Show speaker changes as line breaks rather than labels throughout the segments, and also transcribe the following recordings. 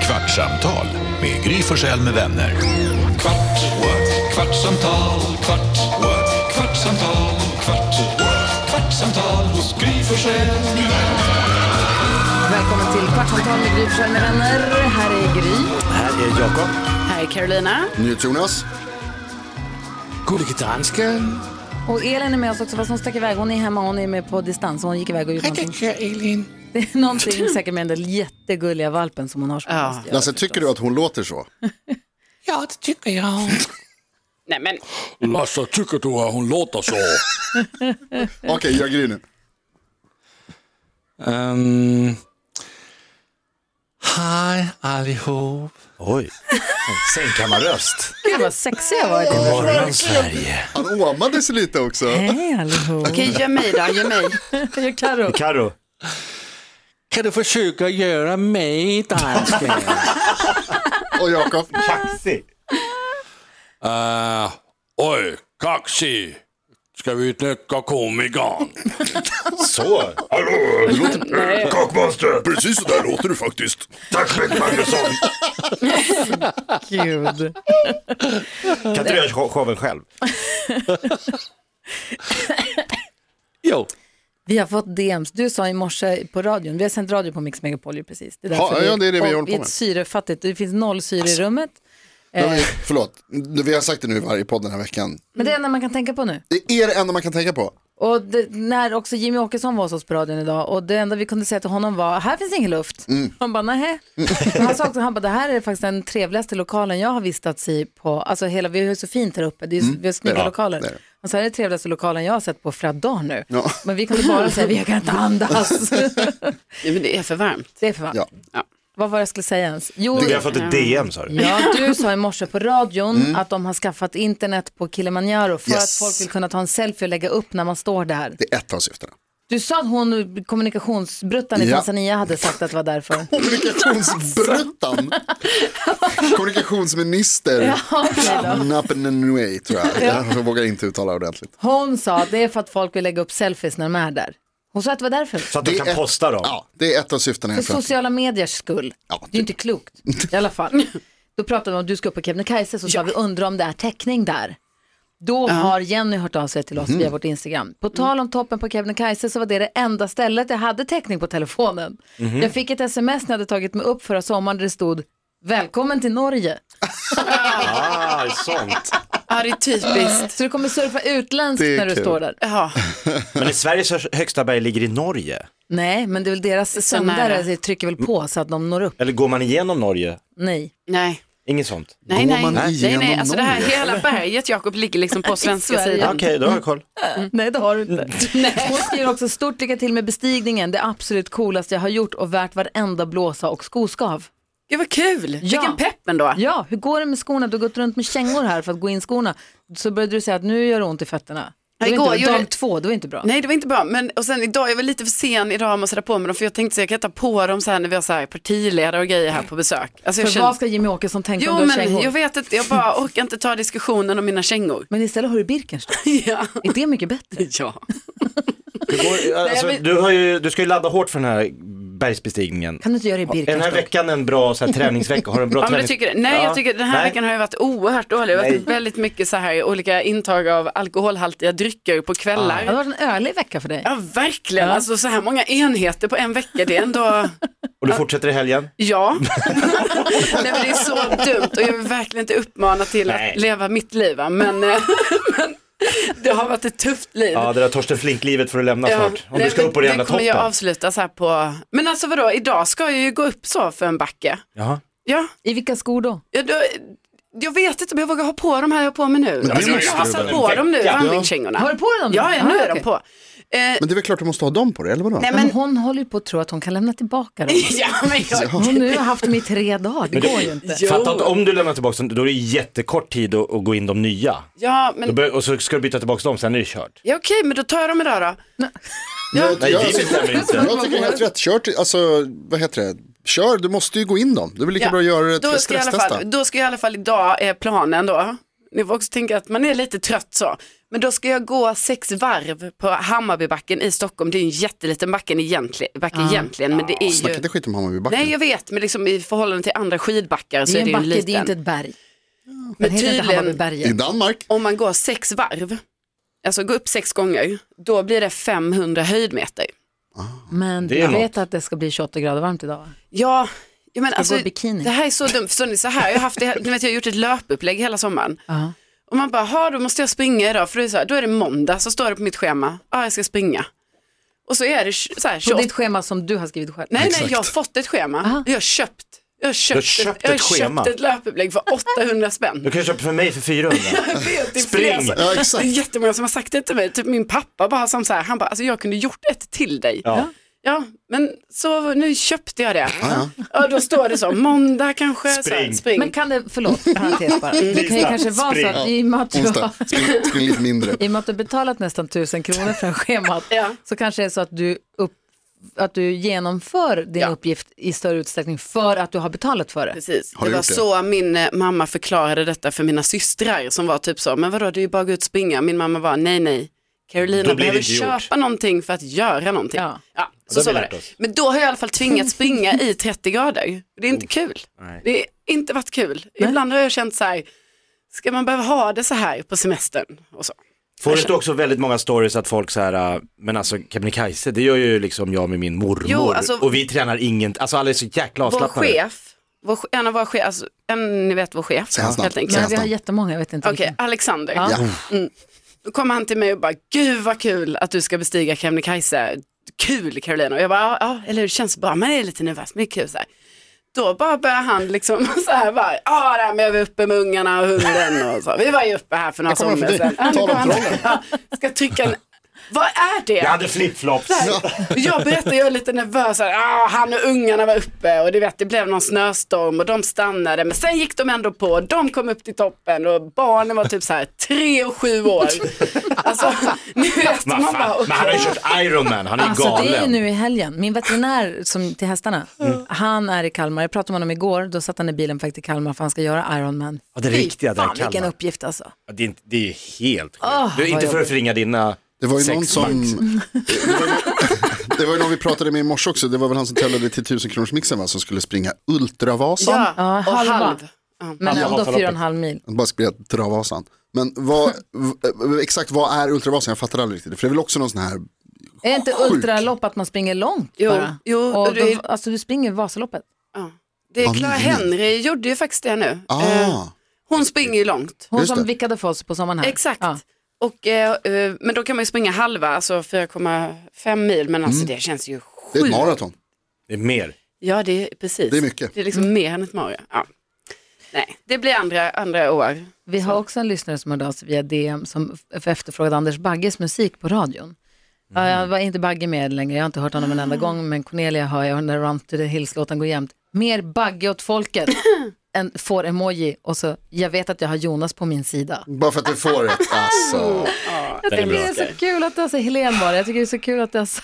Kvartsamtal med Gry Forssell med vänner. Kvart, what? kvartsamtal, kvart, what? kvartsamtal, kvart, what? kvartsamtal hos Gry Forssell med vänner.
Välkommen till Kvartsamtal med Gry Forssell med vänner. Här är Gry.
Här är Jakob.
Här är Carolina.
Jonas.
Gullige dansken.
Och Elin är med oss också, fast hon stack iväg. Hon är hemma, hon är med på distans. Hon gick iväg och gjorde någonting.
Kör Elin.
Det är någonting säkert med den där jättegulliga valpen som hon har som ja.
Lasse, tycker du att hon låter så?
Ja, det tycker jag.
Nej men,
Lasse, tycker du att hon låter så?
Okej, gör Gry nu.
Um, hej allihop.
Oj. Sängkammarröst.
Gud vad sexig jag var i den.
Morgon Sverige.
Han åmade sig lite också.
Hej allihop.
okej gör mig då, gör mig.
Gör Karo.
Karo.
Kan du försöka göra mig dansken?
Och Jakob.
Eh.
Kaxig.
Uh, oj, kaxig. Ska vi knäcka komikern?
Så.
Hallå, du låter... Kakmaster! Precis så där låter du faktiskt. Tack Bengt Magnusson!
Gud.
Kan inte du göra show- showen själv?
jo.
Vi har fått DMs. Du sa i morse på radion, vi har sänt radio på Mix Megapol ju precis. Det är
Ja,
därför
ja, det är det vi
och
håller på
är
med.
ett syrefattigt, det finns noll syre i rummet.
Nu har vi- Förlåt, vi har sagt det nu i varje podd den här veckan.
Men det är det enda man kan tänka på nu.
Det är det enda man kan tänka på.
Och det, när också Jimmy Åkesson var hos oss på radion idag och det enda vi kunde säga till honom var, här finns ingen luft.
Mm.
Han bara, nähä. Men Han sa också, han bara, det här är faktiskt den trevligaste lokalen jag har vistats i på, alltså hela, vi har ju så fint här uppe, det är, ju- vi har snygga
Ja,
lokaler.
Mm. det är det.
Han sa, det är den trevligaste lokalen jag har sett på flera dagar nu.
Ja.
Men vi kunde bara säga, vi kan inte andas.
Nej, men det är för varmt.
det är för fan.
Ja.
Vad var det jag skulle säga ens? Jo,
Vi har fått ett DM sa du.
Ja, du sa i morse på radion att de har skaffat internet på Kilimanjaro för
Mm. Yes.
att folk vill kunna ta en selfie och lägga upp när man står där.
Det är ett av syftena.
Du sa att hon, kommunikationsbruttan i
Ja.
Tanzania hade sagt att det var därför.
Kommunikationsbruttan. Kommunikationsminister. Napenenue tror jag. Jag vågar inte uttala ordentligt.
Hon sa att det är för att folk vill lägga upp selfies när de är där. Hon sa att det var därför.
Så att du
Det är-
kan posta dem.
Ja, det är ett av syftena.
För
jag tror att-
sociala mediers skull.
Ja,
Det är ju inte klokt i alla fall. Då pratade vi om att du ska upp på Kebnekaise så sa vi undra om det är täckning där. Då har Jenny hört av sig till oss
Mhm.
via vårt Instagram. På tal om toppen på Kebnekaise så var det det enda stället jag hade täckning på telefonen.
Mhm.
Jag fick ett sms när jag hade tagit mig upp förra sommaren där det stod Välkommen till Norge.
Ah, sånt.
Ja, det är typiskt.
Så du kommer surfa utländskt
Det är
när du
kul.
står där.
Ja,
Men i Sveriges hö- högsta berg ligger i Norge.
Nej, men det är väl deras sändare
nära.
som trycker väl på så att de når upp.
Eller går man igenom Norge?
Nej.
nej.
Inget sånt.
Nej,
Går
nej.
man
nej, nej.
igenom
Alltså det här
Norge?
hela berget, Jakob, ligger liksom på svenska
Sverige.
Ah,
sidan.
Okej, då har jag koll.
Mm.
Nej, det har du inte. Hon skriver också stort lycka till med bestigningen. Det absolut coolaste jag har gjort och värt varenda blåsa och skoskav.
Gud vad kul. Vilken pepp ändå.
Ja, hur går det med skorna? Du har gått runt med kängor här för att gå in skorna. Så började du säga att nu gör det ont i fötterna. Det var
Igår
inte, bra.
gjorde-
dag två, det var inte bra.
Nej det var inte bra, men och sen idag, jag var lite för sen idag med att sätta på mig dem för jag tänkte så jag kan ta på dem så här när vi har så här partiledare och grejer här på besök. Alltså, jag
för
känner-
vad ska Jimmy Åkesson tänka
Jo
om du har
men
kängor?
jag vet inte, jag bara orkar inte ta diskussionen om mina kängor.
Men istället har du Birkenstock.
Ja.
Är det mycket bättre?
ja.
Du, går, alltså,
men-
du, har ju, du ska ju ladda hårt för den här bergsbestigningen.
Kan du inte göra det i
Är den här
Birkenstock?
veckan en bra så här, träningsvecka? Har du en bra
Ja, men jag
träning?
tycker, nej,
Ja.
jag tycker den här
Nej.
veckan har ju varit oerhört dålig. Det har varit
Nej.
väldigt mycket så här olika intag av alkoholhaltiga drycker på kvällar.
Det har varit en ölig vecka för dig.
Ja, verkligen. Alltså så här många enheter på en vecka, det är ändå,
Och du fortsätter i helgen?
ja. nej, men det är så dumt och jag vill verkligen inte uppmana till
Nej.
att leva mitt liv, va? men, eh, men det har varit ett tufft liv.
Ja, det där Torsten Flink-livet får du lämna
Ja,
snart. Om
nej,
du ska
men
upp på den jävla
kommer
toppen.
jag avsluta så här på, men alltså vadå, idag ska jag ju gå upp så för en backe.
Jaha.
Ja,
I vilka skor då?
Ja, då, jag vet inte om jag vågar ha på de här jag har på mig nu. alltså,
måste
jag har
du
satt
väl?
på dem nu,
Ja.
vandringskängorna.
Har du på dig dem?
Ja, ja, nu
Ah,
är de
okej.
på.
Men det är väl klart du måste ha dem på dig, eller vadå?
Nej,
Men
men,
hon håller ju på att tro att hon kan lämna tillbaka dem.
ja, men jag,
Hon nu har haft dem i tre dagar, det
Men
går ju inte.
Jo.
Fatta att om du lämnar tillbaka dem, då är det jättekort tid att, att gå in de nya.
ja,
Då
men,
bör, och så ska du byta tillbaka dem, sen är det kört.
ja, okej, men då tar jag dem idag då.
Jag,
Nej,
jag,
det bestämmer inte.
jag tycker helt rätt. Kör, till- alltså, vad heter det? Kör, du måste ju gå in dem. Det är väl lika
Ja,
bra att göra
då,
det,
ska jag i alla eh,
stresstesta.
fall, då ska jag i alla fall idag, är planen då. Ni får också tänka att man är lite trött så. Men då ska jag gå sex varv på Hammarbybacken i Stockholm. Det är en jätteliten backen egentligen, backe
Ah.
egentligen men det är
Snacka
ju...
inte skit om Hammarbybacken.
Eh, Nej jag vet, men liksom i förhållande till andra skidbackar så
Det
är
är
det
en
ju en
backe, det är
liten.
inte ett berg. Men
Men
heter inte
tydligen,
I
Hammarbyberget.
Danmark?
om man går sex varv, alltså gå upp sex gånger, då blir det 500 höjdmeter.
Men
Det
du
är något.
vet att det ska bli 28 grader varmt idag va?
Ja, ja men
jag
alltså,
gå i bikini?
det här är så dumt. Förstår ni, så här, jag, har haft det, ni vet, jag har gjort ett löpupplägg hela sommaren.
Ja.
Och man bara, "Ha, då måste jag springa idag. För det är så här, då är det måndag, så står det på mitt schema, ja jag ska springa. Och så är det tj- så här,
På
28.
ditt schema som du har skrivit själv.
Nej, nej, jag har fått ett schema. Jag har köpt. Jag har köpt,
har köpt
jag har
ett schema.
köpt ett löpupplägg för 800
Du
spänn.
kan köpa för mig för 400.
Jag vet, det är
Spring.
flera som-
Ja,
Det är
exakt.
jättemånga som har sagt det till mig. Typ min pappa bara som så här, han bara, alltså jag kunde gjort ett till dig.
Ja.
Ja, men så nu köpte jag det.
Ah,
Ja, då står det så, måndag kanske. Så här,
Spring.
spring.
Men kan det, förlåt, parentes bara. Det
Mm.
kan ju
Tisdag,
kanske vara så att
spring.
i och med att du har
Onsdag. Spring, spring lite mindre.
I och med att du har betalat nästan tusen kronor för schemat
Ja.
så kanske det är så att du, upp, att du genomför din
Ja.
uppgift i större utsträckning för att du har betalat för det.
Precis.
Har
det
du
var
gjort det?
så min eh, mamma förklarade detta för mina systrar som var typ så, men vadå det är ju bara att gå ut och springa. Min mamma var nej nej,
Då
Carolina
blir det
behöver
inte
köpa
gjort.
någonting för att göra någonting.
Ja.
så,
har
så
vi
var
lärt
det.
oss.
Men då har jag i alla fall tvingats springa i 30 grader. Det är inte kul. Det har inte varit kul. Ibland har jag känt så här, ska man behöva ha det så här på semestern? Och så.
Får du inte också väldigt många stories att folk så här, äh, men alltså Kebnekaise, det gör ju liksom jag med min mormor.
Jo, alltså-
och vi tränar inget, alltså alla är så jäkla
Vår
avslappnade.
chef, vår, che- en av våra chefer, alltså, en, ni vet vår chef
Säg hans namn.
helt enkelt.
Men vi har jättemånga, jag vet inte
Okej,
vilken.
Alexander.
Ja.
Ja.
Då kom han till mig och bara, gud vad kul att du ska bestiga Kebnekaise. Kul Carolina. Och jag bara, ja, ja eller hur, det känns bra, men det är lite nervöst, men det är kul så här. Då bara började han liksom så här bara, ja det här med att vi är uppe med ungarna och hunden och så. Vi var ju uppe här för några
kommer
somrar
förbi.
sedan. Ja, nu
Ta
kommer
dem
han.
trollen.
Ja, Ska trycka en, vad är det?
Jag hade flipflops.
Jag berättar, jag är lite nervös. Här, ah, han och ungarna var uppe och du vet, det blev någon snöstorm och de stannade. Men sen gick de ändå på. De kom upp till toppen och barnen var typ så här tre och sju år. Alltså, ni vet,
Men
man
fan,
bara,
Men han har
okej.
ju kört Ironman, han är ju
Alltså
galen. Mm.
det är ju nu i helgen, min veterinär som, till hästarna, han är i Kalmar, jag pratade med honom igår, då satt han i bilen på väg till Kalmar för han ska göra Ironman.
Ja, det
Fy
riktiga där i
fan, vilken
Kalmar.
uppgift alltså.
Ja, Det är, inte- det är ju helt sjukt.
Åh,
du,
vad
inte för att förringa dina
Det var ju
sex
någon som...
max.
Det var ju någon- Det var ju någon vi pratade med i morse också. Det var väl han som tävlade till 1000 kronors mixen va? Som skulle springa Ultravasan.
Ja,
Ja,
och
halva.
halv. Ja.
Men
jag
ändå
hatar
fyra och en
loppet.
halv mil.
Han bara spela Travasan. Men vad, v- exakt vad är Ultravasan? Jag fattar aldrig riktigt. För det är väl också någon sån här,
Är det inte ultralopp att man springer långt
Jo,
bara?
jo,
och
och
då,
det-
alltså du springer Vasaloppet.
Ja. Det är Clara Henry gjorde ju faktiskt det nu.
ah,
Eh, Hon springer ju långt.
Hon
Just
som
det.
vickade för oss på sommaren här.
Exakt.
Ja.
Och, eh, eh, men då kan man ju springa halva, alltså 4,5 mil. Men alltså det känns ju
Mm. det är ett
sjukt.
maraton.
Det är mer.
Ja, det är precis.
Det är mycket.
Det är liksom mer än ett Mario. Ja. Nej, det blir andra, andra år.
Vi har också en lyssnare som hörde av sig via DM som f- efterfrågade Anders Bagges musik på radion. Ja, jag var inte Bagge med längre, jag har inte hört honom en enda gång, men Cornelia hör jag, och den där Run to the Hills-låten går jämt. Mer Bagge åt folket, en får-emoji och så, jag vet att jag har Jonas på min sida.
Bara för att du får ett, alltså.
Jag tycker
bra.
det är så kul att du har, så Helen var det, jag tycker det är så kul att du har, så-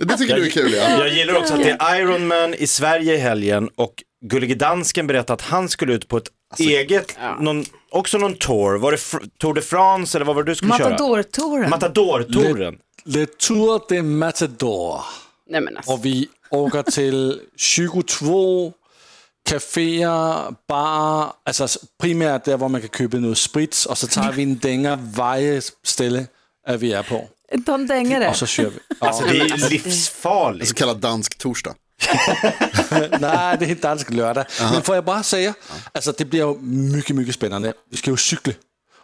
Det tycker du är kul ja.
Jag gillar också att det är Ironman i Sverige i helgen och Gullige Dansken berättade att han skulle ut på ett eget, någon, också någon tour. Var det Fr- Tour de France eller vad var det du skulle köra?
Matador-touren.
Matador-touren.
Le Tour de Matador.
Nej men alltså.
Och vi åker till 22 kaféer, barer, alltså primärt där, hvor man kan köpa noget sprit, och så tar vi en dænger varje ställe, at vi är på.
en tom dängare.
Och så kör vi.
Alltså det är livsfarligt.
Så kallad dansk torsdag.
Nej, det är helt dansk lördag. Men får jag bara säga, alltså det blir ju mycket, mycket spännande. Vi ska ju cykla.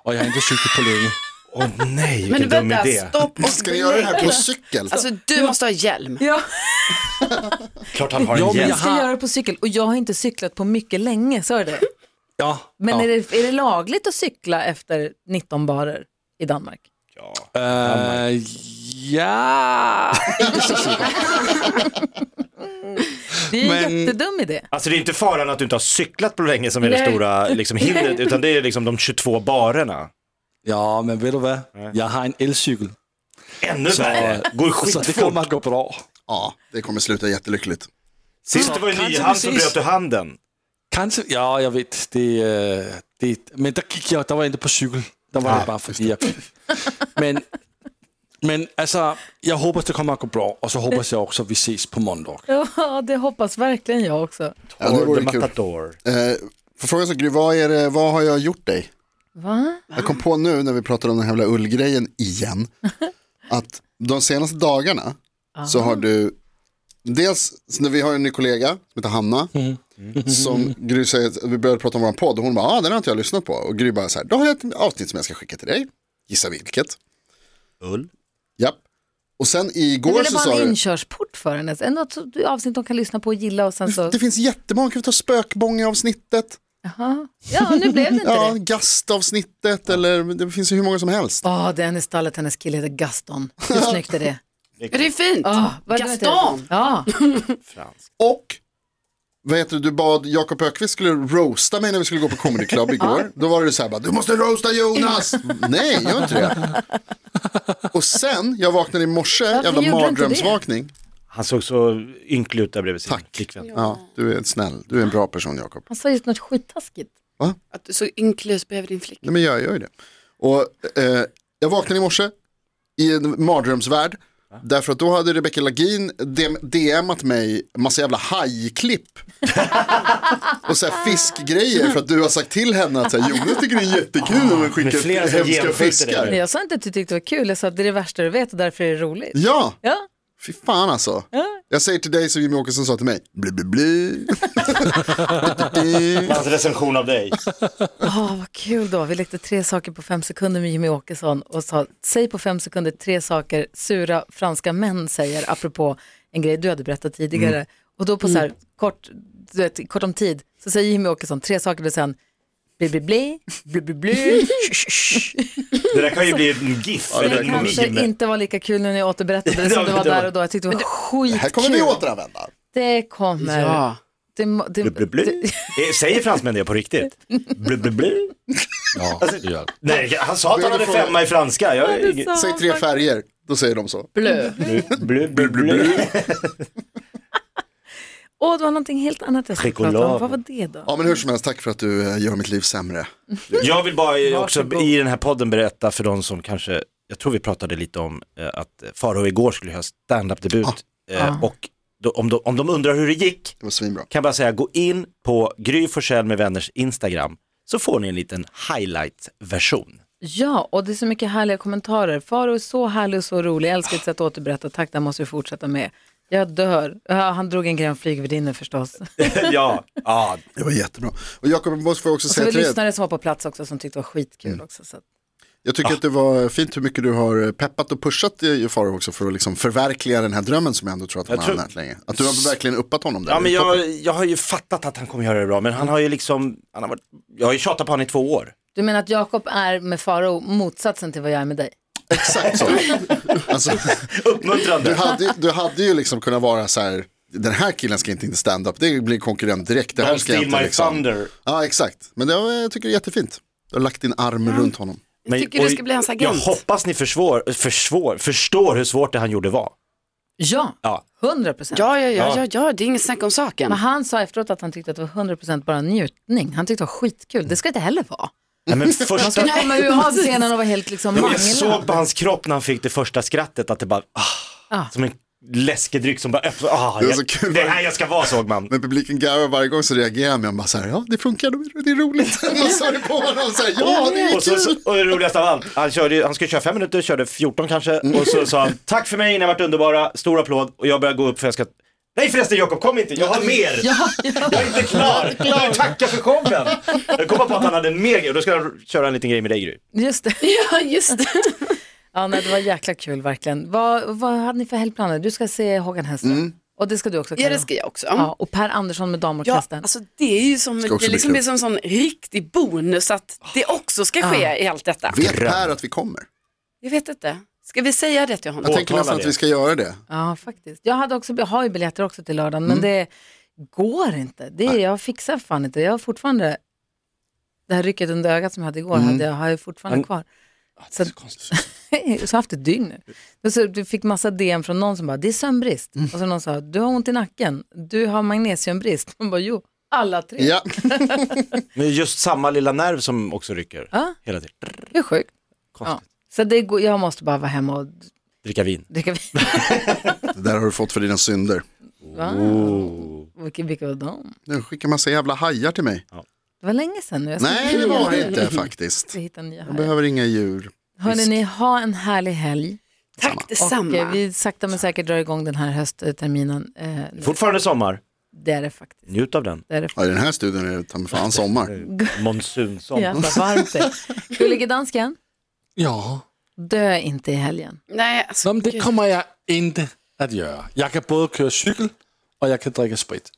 Och jag har inte cyklat på länge.
Åh nej,
Men
vilken
du
dum
vänta,
idé.
stopp och
Ska ni göra det här på cykel?
Alltså du måste ha hjälm.
Ja.
Klart han har
Jo,
en
men
hjälm.
jag
Jag ska
har-
göra det på cykel och jag har inte cyklat på mycket länge, så är det.
Ja,
Men
ja.
är, det, är det lagligt att cykla efter 19 barer i Danmark?
Øh, ja.
Det är ju en
Men-
jättedum idé.
Alltså det är inte faran att du inte har cyklat på länge som är det stora liksom, hindret, utan det är liksom de 22 barerna.
Ja, men vet du vad? Jag har en elcykel.
Ännu
Så,
värre, går
så det kommer
skitfort.
att gå bra.
Ja, det kommer sluta jättelyckligt.
Sist det var ju
Kanske
Nyhamn så
precis.
bröt du handen.
Kanske, ja, jag vet. Det, øh, det, men där gik jag, der var jag inte på cykel. Der var det bare fordi, jeg fik. Men, men altså, jeg håber, det kommer at gå bra, og så håber jeg også, at vi ses på måndag.
Ja, det hoppas verkligen jag också.
Ja, det vore
The
kul.
Matador.
Eh, Får fråga så Gry, vad, är det, vad har jag gjort dig?
Va?
Jag kom på nu när vi pratade om den här jävla ullgrejen igen, att de senaste dagarna så
Ah.
har du, dels när vi har en ny kollega som heter Hanna, som Gry säger, vi började prata om vår podd och hon bara, ah, den har inte jag lyssnat på. Och Gry bara så här, då har jag ett avsnitt som jag ska skicka till dig, gissa vilket.
Ull.
Japp. Och sen
Det
igår
ville
så
bara
sa
en
du,
inkörsport för henne. Ändå ett avsnitt de kan lyssna på och gilla och sen så...
det finns jättemånga, kan vi ta spökbånge-avsnittet,
Jaha. Ja, nu blev det inte
ja,
det.
gastavsnittet eller det finns ju hur månger som helst.
Åh, det är henne i stallet, hennes kille heter Gaston. Hur snyggt är det?
Det är fint.
Åh, vad heter det?
Gaston!
Ja,
Och vad heter det, du bad Jakob Ökvist skulle roasta mig när vi skulle gå på comedy club igår. Då var det så här bara, du måste roasta Jonas. Nej, gör inte det. Och sen, jag vaknade i morse, jävla
gjorde du inte det?
mardrömsvakning.
Han såg så ynklig ut där bredvid sin Tack. flickvän.
Ja, du är snäll, du är en bra person Jakob.
han sa just något skittaskigt.
Att du så inklus bredvid din flicka.
Nej men jag gör ju det. Och eh, jag vaknade i morse i en mardrömsvärld. Därför att då hade Rebecca Lagin DM- DMat mig massa jävla hajklipp. och så här fiskgrejer för att du har sagt till henne att så här, Jonas tycker det är jättekul om man
Med
skickar
flera som
hemska
genskjuter
fiskar.
dig.
Jag sa inte att du tyckte det var kul, jag sa att det är det värsta du vet och därför är det roligt.
Ja,
Ja,
fy fan alltså. Jag säger till dig som Jimmy Åkesson sa till mig. Bli, bli, bli.
Hans recension av dig.
Åh, vad kul då. Vi lekte tre saker på fem sekunder med Jimmy Åkesson och sa, säg på fem sekunder tre saker sura franska män säger, apropå en grej du hade berättat tidigare. Och då på så här kort, du vet, kort om tid så säger Jimmy Åkesson tre saker och sen bli bli bli, bli bli bli.
Det där kan ju bli en GIF eller
Det
en
kanske
meme.
inte var lika kul när ni återberättade det
Ja,
som det
men
var
det var-
där och då. Jag tyckte det var
Det här kommer vi
skitkul.
återanvända.
Det kommer.
Ja.
Det, må- det,
Blu, blu, blu. Eh, Säger fransmän det på riktigt? Blu, blu, blu. Alltså,
Ja, ja.
Nej, han sa att han hade femma i franska. Jag,
sa-
Säg tre färger, då säger de så.
Blö.
blu, blu, blu, blu.
Åh, det var någonting helt annat jag skulle prata om.
Tricolor.
Vad var det då?
Ja men hur som helst, tack för att du eh, gör mitt liv sämre.
Jag vill bara eh, också i den här podden berätta för de som kanske, jag tror vi pratade lite om eh, att Farao igår skulle göra stand-up-debut. Eh, och då, om, de, om de undrar hur det gick,
Det var svinbra.
kan jag bara säga gå in på Gry Forssell med vänners Instagram så får ni en liten highlight-version.
Ja, och det är så mycket härliga kommentarer. Faro är så härlig och så rolig. Jag älskar ditt sätt att återberätta. Tack, det här måste du fortsätta med. Jag dör. Ja, han drog en grej om flygvärdinnan förstås.
ja, ja,
Det var jättebra. Och Jakob, måste får jag också
Så
säga
Alltså, vi
till dig, att
lyssnare som var på plats också som tyckte det var skitkul
Mm.
också. Så. att-
jag tycker att det var fint hur mycket du har peppat och pushat eh, Faro också för att liksom förverkliga den här drömmen som jag ändå tror att han
Jag
har
tror-
hamnat länge. Att du har verkligen uppat honom där.
Ja men
Det är toppen.
jag, jag har ju fattat att han kommer göra det bra men han har ju liksom, han har varit, jag har ju tjatat på honom i två år.
Du menar att Jakob är med Faro motsatsen till vad jag är med dig?
Exakt så. alltså, du,
Uppmuntrande.
hade, du hade ju liksom kunnat vara så här, den här killen ska inte in till stand-up, det blir konkurrent direkt. Det här
Don't
ska jag
steal
inte
my
liksom.
thunder.
Ja exakt, men det var, jag tycker det är jättefint. Du har lagt din arm runt honom.
Men-
tycker du
och
ska bli hans agent.
Jag hoppas ni försvår, försvår, förstår hur svårt det han gjorde var.
Ja,
Ja.
100 procent.
Ja, ja, ja, ja, ja, det är inget snack om saken.
Men han sa efteråt att han tyckte att det var 100 procent bara njutning. Han tyckte det var skitkul. Det ska inte heller vara.
Nej, men
Man
första,
ska komma ur av scenen och vara helt liksom
jag såg på
manglad.
hans kropp när han fick det första skrattet att det bara, ah,
Ja.
som en läskedryck som bara öppnade. Ah,
Det är
jag,
så kul.
det är här jag ska vara såg man.
Men publiken garvar varje gång så reagerar jag med bara så här, ja det funkar, det är roligt. Man sa det på honom så här, ja det är
Och, så,
kul.
så- och det roligaste av allt, han, körde, ju- han skulle köra fem minuter, körde 14 kanske och så sa han tack för mig, ni har varit underbara, stor applåd och jag börjar gå upp för jag ska Nej förresten Jakob, kom inte, jag har mer! Jag är inte klar! Jag vill tacka för showen! Jag kom bara på att han hade mer grejer, då ska jag köra en liten grej med dig Gry.
Just det.
Ja, just det.
Ja, nej, det var jäkla kul verkligen. Vad, vad hade ni för helgplaner? Du ska se Håkan Hellström. Och det ska du också
Ja,
Karo.
det ska jag också.
Ja, och Per Andersson med
Ja,
damorkestern.
alltså det är ju som, det
också
är
bli
liksom, det är
kul.
som en sån riktig bonus att det också ska ske i allt detta.
Vet Per att vi kommer?
Jag vet inte, ska vi säga det till
Jag
honom?
tänker nästan
det.
att vi ska göra det.
Ja, faktiskt. Jag, hade också, jag har ju biljetter också till lördagen, men det går inte. Det, jag fixar fan inte. Jag har fortfarande, det här rycket under ögat som jag hade igår, hade jag, har jag fortfarande kvar. Så, så, så haft ett dygn nu. Och så, du fick massa DM från någon som bara, det är sömnbrist. Och så någon sa, du har ont i nacken, du har magnesiumbrist. Man bara, jo, Alla tre.
Ja,
Med just samma lilla nerv som också rycker
Ja.
hela tiden.
Det är sjukt. Ja.
Konstigt.
Så det går, jag måste bara vara hemma och
Dricka vin.
dricka vin.
det där har du fått för dina synder.
Va? Oh. Vilka, vilka var de?
Nu skickar massa jävla hajar till mig.
Alltså, Det var länge sedan nu. Jag ska
Nej,
hitta
det
nya.
var det inte faktiskt.
Jag hittar nya
Jag
här.
behöver inga djur.
Hörni, ni ha en härlig helg.
Tack
Och
detsamma.
eh, vi sakta men säkert drar igång den här höstterminen. Eh,
Fortfarande sommar.
det är det faktiskt.
Njut av den.
Det är det faktiskt.
Ja, I den här studion är det ta mig fan sommar.
Monsunsommar.
Ja, vad varmt det är. Gullige dansken,
Ja.
dö inte i helgen.
Nej, alltså,
Nå, men det
gud.
kommer jeg ikke at gøre. Jeg kan både køre cykel, og jeg kan drikke sprit.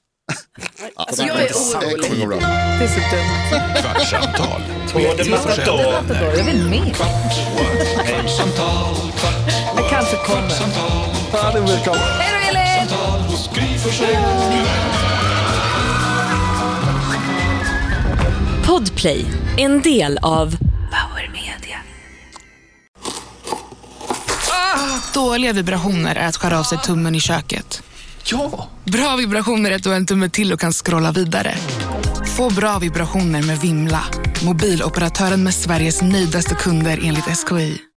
alltså, jag är
Det
orolig.
kommer gå bra.
Det är så dumt.
Kvartsamtal med
Både
Gry Forssell med vänner.
Matador, Jag vill med.
Kvart, what? kvartsamtal, kvart,
Jag
what?
kanske kommer.
kvartsamtal,
Bare det velkommen.
Hej då Elin!
kvartsamtal hos Gry Forssell med vänner.
Podplay, en del av Power Media.
Dåliga vibrationer är att skära av sig tummen i köket. Ja! Bra vibrationer är att du har en tumme till och kan scrolla vidare. Få bra vibrationer med Vimla. Mobiloperatören med Sveriges nöjdaste kunder enligt SKI.